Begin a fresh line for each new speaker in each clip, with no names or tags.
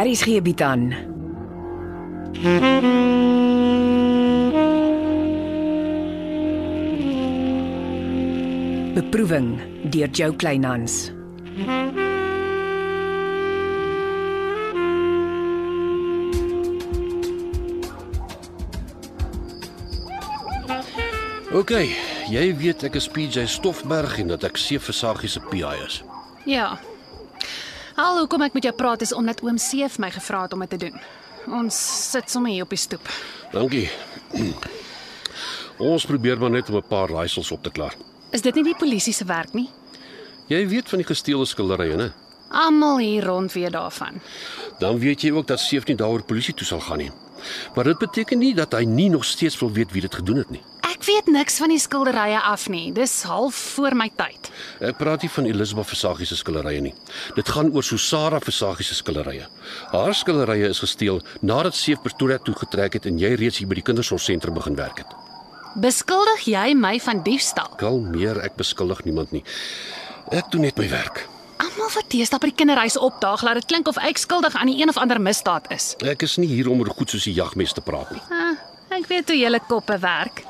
Aries gee bied aan. Beproeving deur Jo Kleinhans.
OK, jy weet ek is PJ Stoffberg en dat ek seeversagie se PI is.
Ja. Al hoekom ek met jou praat is omdat oom Seef my gevra het om dit te doen. Ons sit sommer hier op die stoep.
Dankie. Ons probeer maar net om 'n paar raaisels op te klaar.
Is dit nie die polisie se werk nie?
Jy weet van die gesteelde skilderye, né?
Almal hier rond weet daarvan.
Dan weet jy ook dat Seef nie daaroor polisie toe sal gaan nie. Maar dit beteken nie dat hy nie nog steeds wil weet wie dit gedoen het nie.
Ek weet niks van die skilderye af nie. Dis half voor my tyd.
Ek praat nie van Elisabeth Versagie se skilderye nie. Dit gaan oor Susara Versagie se skilderye. Haar skilderye is gesteel nadat Seef Pretoria toe getrek het en jy reeds hier by die kindersorgsentrum begin werk het.
Beskuldig jy my van diefstal?
Kalmeer, ek beskuldig niemand nie. Ek doen net my werk.
Almal wat teestap by die kinderhuis opdaag, laat dit klink of ek skuldig aan die een of ander misdaad is.
Ek is nie hier om oor goed soos die jagmes te praat nie.
Ah, ek weet hoe julle koppe werk.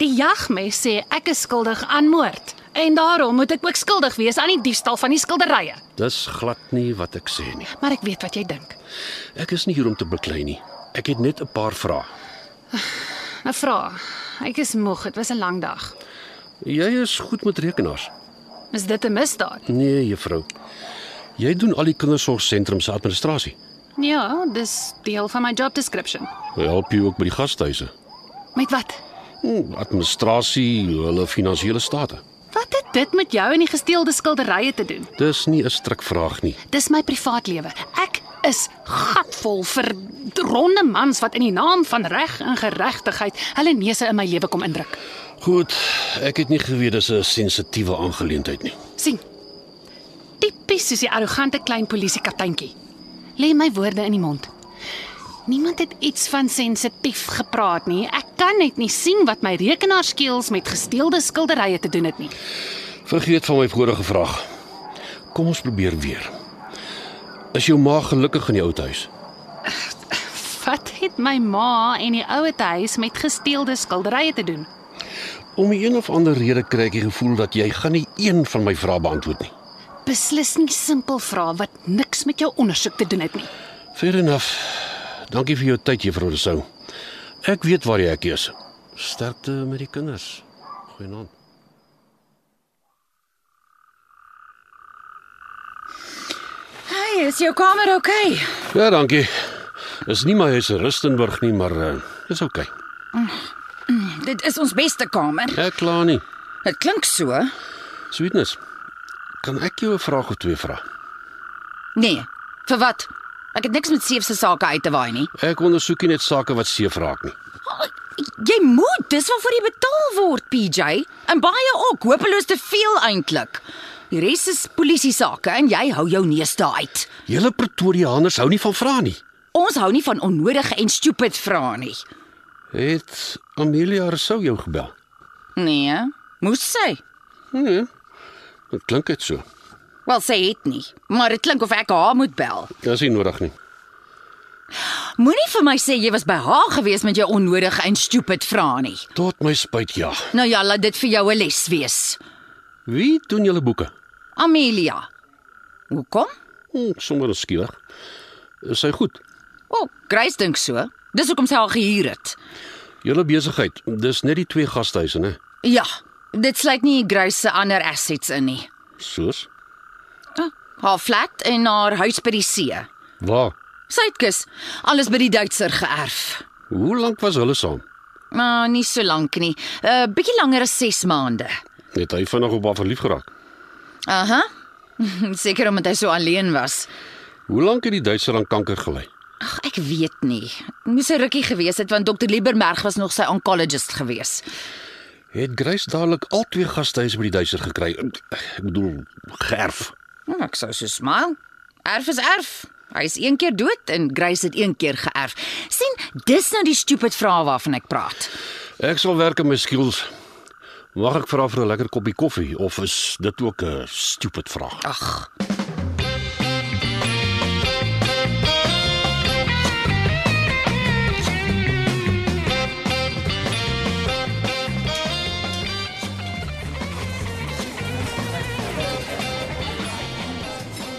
Die jagmes sê ek is skuldig aan moord en daarom moet ek ook skuldig wees aan die diefstal van die skilderye.
Dis glad nie wat ek sê nie.
Maar ek weet wat jy dink.
Ek is nie hier om te beklei nie. Ek het net 'n paar vrae.
Nou vra, ek is moeg, dit was 'n lang dag.
Jy is goed met rekenaars.
Is dit 'n misdaad?
Nee, juffrou. Jy doen al die kindersorgsentrums se administrasie.
Ja, dis deel van my job description.
Help jy ook by die gasthuise?
Met wat?
Hm, Administrasie, hulle finansiële state.
Wat het dit met jou en die gesteelde skilderye te doen?
Dis nie 'n strikvraag nie.
Dis my privaatlewe. Ek is gatvol vir ronde mans wat in die naam van reg en geregtigheid hulle neuse in my lewe kom indruk.
Goed, ek het nie geweet dis 'n sensitiewe aangeleentheid nie.
sien. Tipies soos die arrogante klein polisiekapteintjie. Lê my woorde in die mond. Niemand het iets van sensitief gepraat nie. Ek kan net nie sien wat my rekenaarskills met gesteelde skilderye te doen het nie.
Vergeet van my vorige vraag. Kom ons probeer weer. Is jou ma gelukkig in die ou huis?
Wat het my ma en die ouete huis met gesteelde skilderye te doen?
Om 'n een of ander rede kry ek die gevoel dat jy gaan nie een van my vrae beantwoord nie.
Beslis nie simpel vrae wat niks met jou ondersoek te doen het nie.
Fair enough. Dankie vir jou tyd, Juffrou Rousseau. Ek weet waar jy ek is. Sterkte met die kinders. Goeienaand.
Hey, is jou kamer oukei? Okay?
Ja, dankie. Is nie my huis in Rustenburg nie, maar uh, dis oukei. Okay.
Dit is ons beste kamer.
Ek kla nie.
Dit klink so.
Sweetness. Kan ek jou 'n vraag of twee vra?
Nee. Vir wat? Ek het niks met Seef se sake uit te waai nie.
Ek ondersoek nie net sake wat seef raak nie.
Jy moet, dis waarvoor jy betaal word, PJ. En baie ook, hopeloos te veel eintlik. Die res is polisie sake en jy hou jou neus daai uit.
Julle Pretoriaaners hou nie van vra nie.
Ons hou nie van onnodige en stupid vrae nie.
Het Amelia Rousseau jou gebel?
Nee, moes sy.
Nee. Dit klink dit so.
Wel sy het nie, maar dit klink of ek haar moet bel.
Dis Ja, nie nodig nie.
Moenie vir my sê jy was by haar gewees met jou onnodige en stupid vrae nie.
Tot my spyt ja.
Nou ja, laat dit vir jou 'n les wees.
Wie doen julle boeke?
Amelia. Hoekom?
Hm, sommer skielik. Is hy goed?
O, oh, Grace dink so. Dis hoekom sy haar gehuur het.
Julle besigheid. Dis net die twee gasthuise, né?
Ja, dit sluit nie Grace se ander assets in nie.
Soos?
Ah. Haar flat en haar huis by die see.
Waar?
Suidkus, alles by die Duitser geerf.
Hoe lank was hulle saam?
Maar nie so lank nie. 'n uh, Bietjie langer as 6 maande.
Het hy vinnig op haar verlief geraak?
Aha. Seker omdat hy so alleen was.
Hoe lank het die Duitser aan kanker gely?
Ag, ek weet nie. Moes 'n rukkie gewees het want dokter Lieberberg was nog sy oncologist gewees.
Het Grace dadelik al twee gasthuise by die Duitser gekry. Ek bedoel, geerf.
Nou, ek sou so smile. Erf is erf. Hy is een keer dood en Grace het een keer geerf. sien, dis nou die stupid vrae waarvan ek praat.
Ek sal werk aan my skills. Mag ek vra vir 'n lekker koppie koffie of is dit ook 'n stupid vraag?
Ag.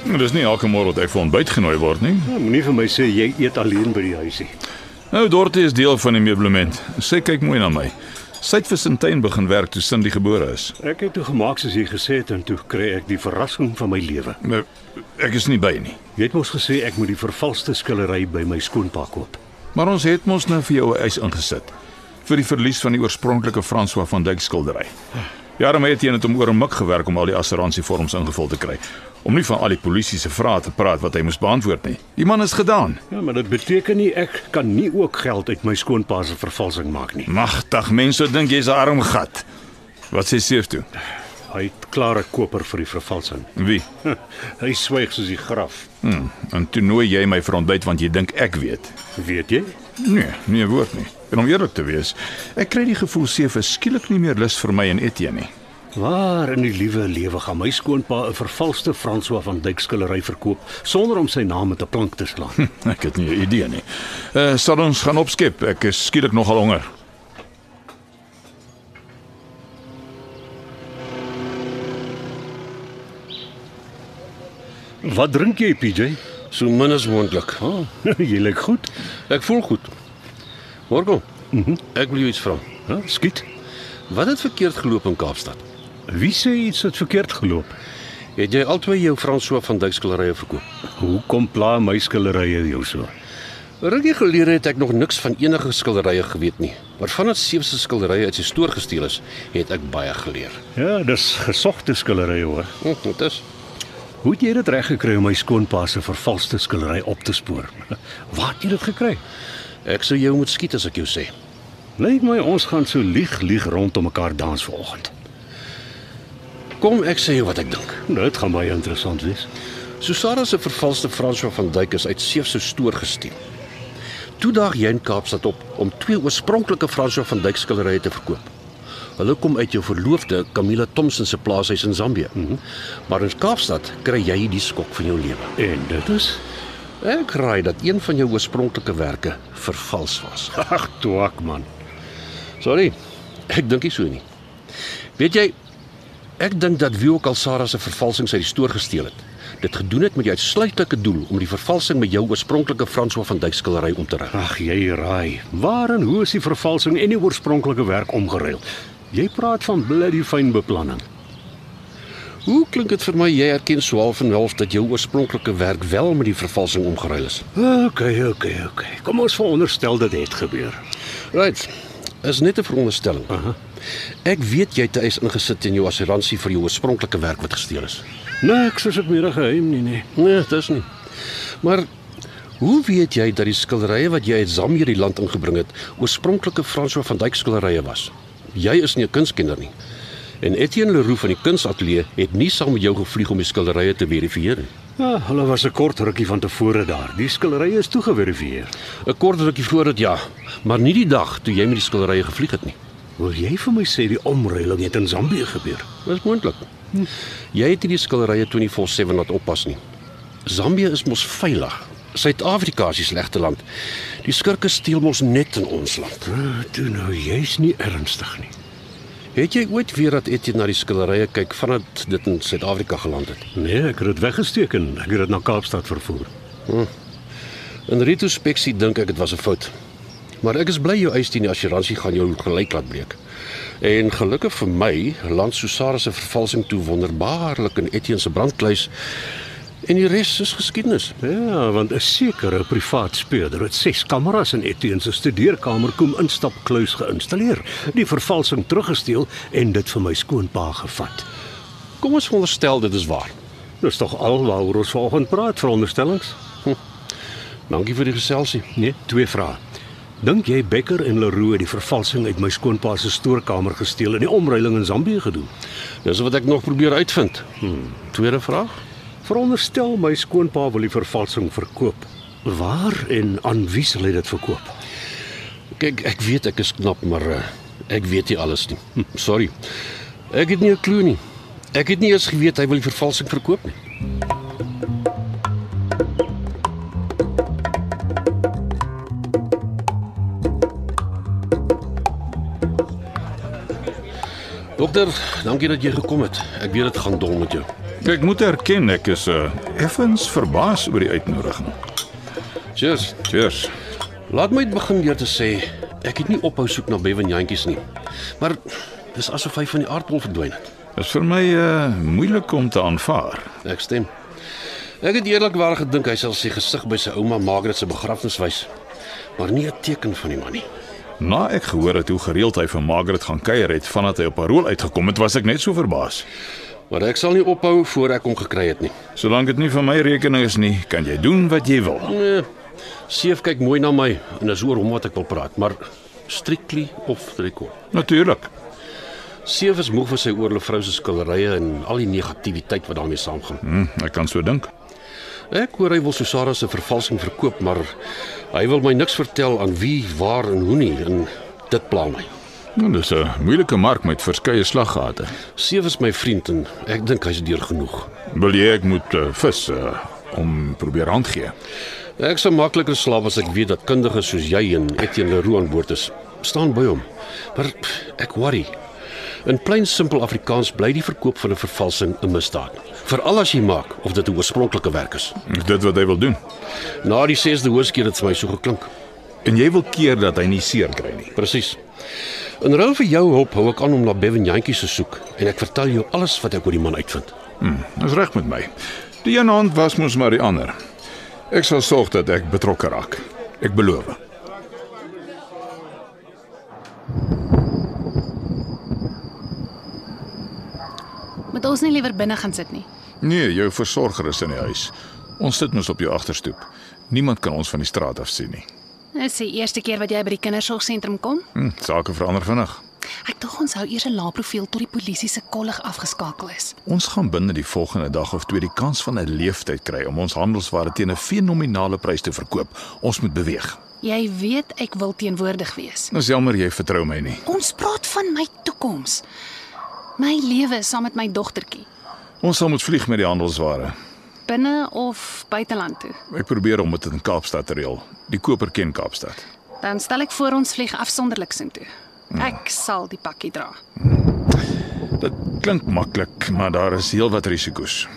Nou, Dis nie elke môre wat ek vir ontbyt genooi word nie.
Nou, Moenie vir my sê jy eet alleen by die huisie.
Nou Dorothy is deel van die meublement. Sy kyk mooi na my. Sy het vir Sintyn begin werk toe Cindy gebore is.
Ek het toe gemaak soos jy gesê het en toe kry ek die verrassing van my lewe.
Nou ek is nie by nie.
Jy het mos gesê ek moet die vervalste skillery by my skoonpa koop.
Maar ons het mos nou vir jou 'n eis ingesit vir die verlies van die oorspronklike François van Dyk skildery. Jarome het teen dit om oor 'n mik gewerk om al die assuransievorms ingevul te kry. Om nie van al die polisie se vrae te praat wat hy moes beantwoord nie. Die man is gedaan.
Ja, maar dit beteken nie ek kan nie ook geld uit my skoonpa se vervalsing maak nie.
Magtig mense dink jy's 'n arm gat. Wat sê Seef toe?
Hy het klare koper vir die vervalsing.
Wie?
Hy swyg soos die graf.
Hm, en toe nooi jy my vir ontbyt want jy dink ek weet.
Weet jy?
Nee, nee woord nie. En om eerlik te wees, ek kry die gevoel Seef is skielik nie meer lus vir my en Etienne nie.
Waar in die liewe lewe gaan my skoonpa 'n vervalste François van Dyk skillery verkoop sonder om sy naam met 'n plank te slaan?
Ek het nie 'n idee nie. Eh uh, sal ons gaan opskep. Ek is skielik nogal honger.
Wat drink jy, PJ?
So min as moontlik.
Ah, jy lyk goed.
Ek voel goed. Morgo. Mhm. Mm ek wil jou iets vra.
Huh? Skiet.
Wat het verkeerd geloop in Kaapstad?
Wie sê iets het verkeerd geloop?
Het jy albei jou François van Dyk skilderye verkoop?
Hoekom pla my skillerye jou so?
Rukkie gelede het ek nog niks van enige skilderye geweet nie, maar vandat Seef se skilderye uit sy stoor gesteel is, het ek baie geleer.
Ja, dis gesogte skillerye hoor.
Hm, Dit is
Hoe het jy dit reg gekry om my skoonpa se vervalste skillery op te spoor? Waar het jy dit gekry?
ek sou jou moet skiet as ek jou sê.
Lyk my ons gaan so lieg lieg rondom mekaar dans vanoggend.
Kom ek sê jou wat ek dink.
Dit gaan baie interessant wees.
Susara se vervalste François van Dyk is uit Seef se stoor gesteel. Toe daag jy in Kaapstad op om twee oorspronklike François van Dyk skilderye te verkoop. Hulle kom uit jou verloofde Camilla Thomson se plaashuis in Zambië. Mm -hmm. Maar in Kaapstad kry jy die skok van jou lewe.
En dit is
Ek raai dat een van jou oorspronklike werke vervals was.
ag twak man.
Sorry. Ek dink nie so nie. Weet jy, ek dink dat wie ook al Sarah se vervalsings uit die stoor gesteel het, dit gedoen het met die uitsluitlike doel om die vervalsing met jou oorspronklike François van Dyk skildery om te rig.
Ag jy raai. Waar en hoe is die vervalsing en die oorspronklike werk omgeruil? Jy praat van bloody fyn beplanning.
Hoe klink dit vir my jy erken swaalf en half dat jou oorspronklike werk wel met die vervalsing omgeruil is?
OK, OK, OK. Kom ons veronderstel dit het gebeur.
Right. Is net 'n veronderstelling. Uh -huh. Ek weet jy het 'n eis ingesit teen jou assuransie vir jou oorspronklike werk wat gesteel is.
Niks is op middag geheim nie nee.
Nee, dis nie. Maar hoe weet jy dat die skilderye wat jy uit Zambië die land ingebring het, oorspronklike François van Dyk skilderye was? Jy is nie 'n kunstkenner nie. En Etienne Leroux van die kunsatelier het nie saam met jou gevlieg om die skilderye te verifieer nie.
Ja, hulle was 'n kort rukkie van tevore daar. Die skillery is toegeverifieer.
'n Kort rukkie voor dit ja, maar nie die dag toe jy met die skilderye gevlieg het nie.
Wil jy vir my sê die omruiling het in Zambië gebeur?
Dis moontlik. Jy het hierdie skilderye 24/7 laat oppas nie. Zambië is mos veilig. Suid-Afrika is die slegte land. Die skurke steel mos net in ons land.
Ah, Toe nou, jy's nie ernstig nie.
Het jy ooit weer dat Etienne na die skilderye kyk vandat dit in Suid-Afrika geland het?
Nee, ek het dit weggesteek en ek het dit na Kaapstad vervoer.
In retrospeksie dink ek dit was 'n fout. Maar ek is bly jou eis teen die assuransie gaan jou gelyk laat breek. En gelukkig vir my land Susara se vervalsing toe wonderbaarlik in Etienne se brandkluis en die res is geskiedenis.
Ja, want 'n sekere privaat speurder het ses kameras in Etienne se studeerkamer kom instapkluis geïnstalleer, die vervalsing teruggesteel en dit vir my skoonpa gevat.
Kom ons veronderstel dit is waar.
Dis tog al waaroor ons vanoggend praat, veronderstellings?
Dankie vir die geselsie.
Nee, twee vrae. Dink jy Becker en Leroux het die vervalsing uit my skoonpa se stoorkamer gesteel en die omruiling in Zambië gedoen?
Dis wat ek nog probeer uitvind. Hmm, tweede vraag.
Veronderstel my skoonpa wil die vervalsing verkoop. Waar en aan wie sal hy dit verkoop?
Kyk, ek weet ek is knap, maar uh, ek weet nie alles nie. Hm, sorry. Ek het nie 'n klou nie. Ek het nie eens geweet hy wil die vervalsing verkoop nie. Dokter, dankie dat jy gekom het. Ek weet dit gaan dol met jou.
Ek moet erken ek is uh, effens verbaas oor die uitnodiging.
Cheers.
Cheers.
Laat my begin deur te sê ek het nie ophou soek na Bevan jantjies nie. Maar dis asof hy van die aardbol verdwyn het.
Dit is vir my uh, moeilik om te aanvaar.
Ek stem. Ek het eerlikwaar gedink hy sal sy gesig by sy ouma Margaret se begrafnis wys. Maar nie 'n teken van die man nie.
Na ek gehoor het hoe gereeld hy vir Margaret gaan kuier het vandat hy op parol uitgekom het, was ek net so verbaas.
Maar ek sal nie ophou voor ek hom gekry het nie.
Solank dit nie vir my rekening is nie, kan jy doen wat jy wil.
Nee. Seef kyk mooi na my en is oor hom wat ek wil praat, maar strictly off the record.
Natuurlik.
Seef is moeg vir sy oorlofvrou se skilderye en al die negativiteit wat daarmee saamgaan.
Hm, ek kan so dink.
Ek hoor hy wil Susara se vervalsing verkoop, maar hy wil my niks vertel aan wie, waar en hoe nie en dit pla my.
Nou, dis 'n moeilike mark met verskeie slaggate.
Seef is my vriend en ek dink hy's deur genoeg.
Wil jy ek moet uh, vis uh, om probeer hand gee?
Ek sou makliker slaap as ek weet dat kundiges soos jy en Etienne Leroux aan boord is. Staan by hom. Maar pff, ek worry. In plain simpel Afrikaans bly die verkoop van 'n vervalsing 'n misdaad, veral as jy maak of dit 'n oorspronklike werk is.
Is dit wat hy wil doen?
Na die 6de hoorskeur het dit vir my so geklink.
En jy wil keer dat hy nie seer kry nie.
Presies. In ruil vir jou hulp hou ek aan om na Bevan Jantjie se soek en ek vertel jou alles wat ek oor die man uitvind.
Dis reg met my. Die een hand was mos maar die ander. Ek sal sorg dat ek betrokke raak. Ek beloof.
Moet ons nie liewer binne gaan sit nie.
Nee, jou versorger is in die huis. Ons sit mos op jou agterstoep. Niemand kan ons van die straat af sien nie.
Dis die eerste keer wat jy by die kindersorgsentrum kom.
Hm, sake verander vinnig.
Ek dink ons hou eers 'n lae profiel tot die polisie se kollig afgeskakel is.
Ons gaan binne die volgende dag of twee die kans van 'n leeftyd kry om ons handelsware teen 'n fenominale prys te verkoop. Ons moet beweeg.
Jy weet ek wil teenwoordig wees.
Nou jammer jy vertrou my nie.
Ons praat van my toekoms. My lewe saam met my dogtertjie,
Ons sal moet vlieg met die handelsware.
binne of buiteland toe.
Ek probeer om dit in Kaapstad te reël. Die koper ken Kaapstad.
Dan stel ek voor ons vlieg afsonderlik soontoe. Ek sal die pakkie dra.
Dit klink maklik, maar daar is heelwat risiko's.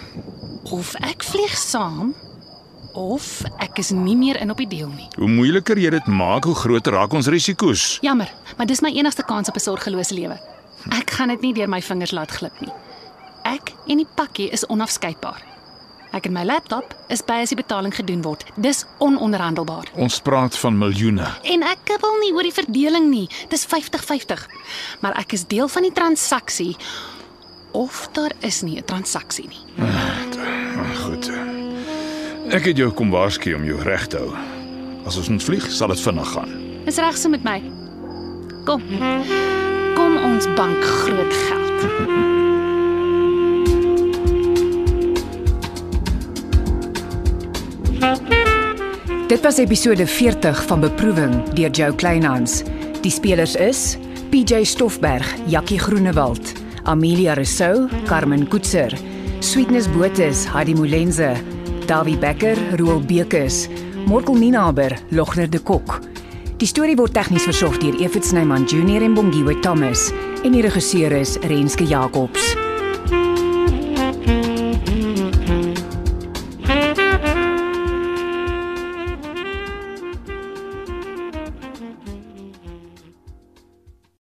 Of ek vlieg saam of ek is nie meer in op die deel nie.
Hoe moeiliker jy dit maak, hoe groter raak ons risiko's.
Jammer, maar dis my enigste kans op 'n sorgelose lewe. Ek gaan dit nie deur my vingers laat glip nie. Ek en die pakkie is onafskeidbaar. Ek en my laptop is by as die betaling gedoen word. Dis ononderhandelbaar.
Ons praat van miljoene.
En ek kibbel nie oor die verdeling nie. Dis 50-50. Maar ek is deel van die transaksie of daar is nie 'n transaksie nie.
Goed. Ek het jou kom waarsku om jou reg te hou. As ons moet vlieg, sal dit vinnig gaan.
Dis reg so met my. Kom. Kom ons bank groot geld.
Dit was episode 40 van Beproewing deur Jo Kleinhans. Die spelers is PJ Stoffberg, Jakkie Groenewald, Amelia Rousseau, Carmen Koetser, Sweetness Botha, Heidi Molenze, Dawie Becker, Roel Bekes, Morkel Ninaber, Logner de Kok. Die storie word tegnies versorg deur Evit Snyman Junior en Bongwe Thomas en die regisseur is Renske Jacobs.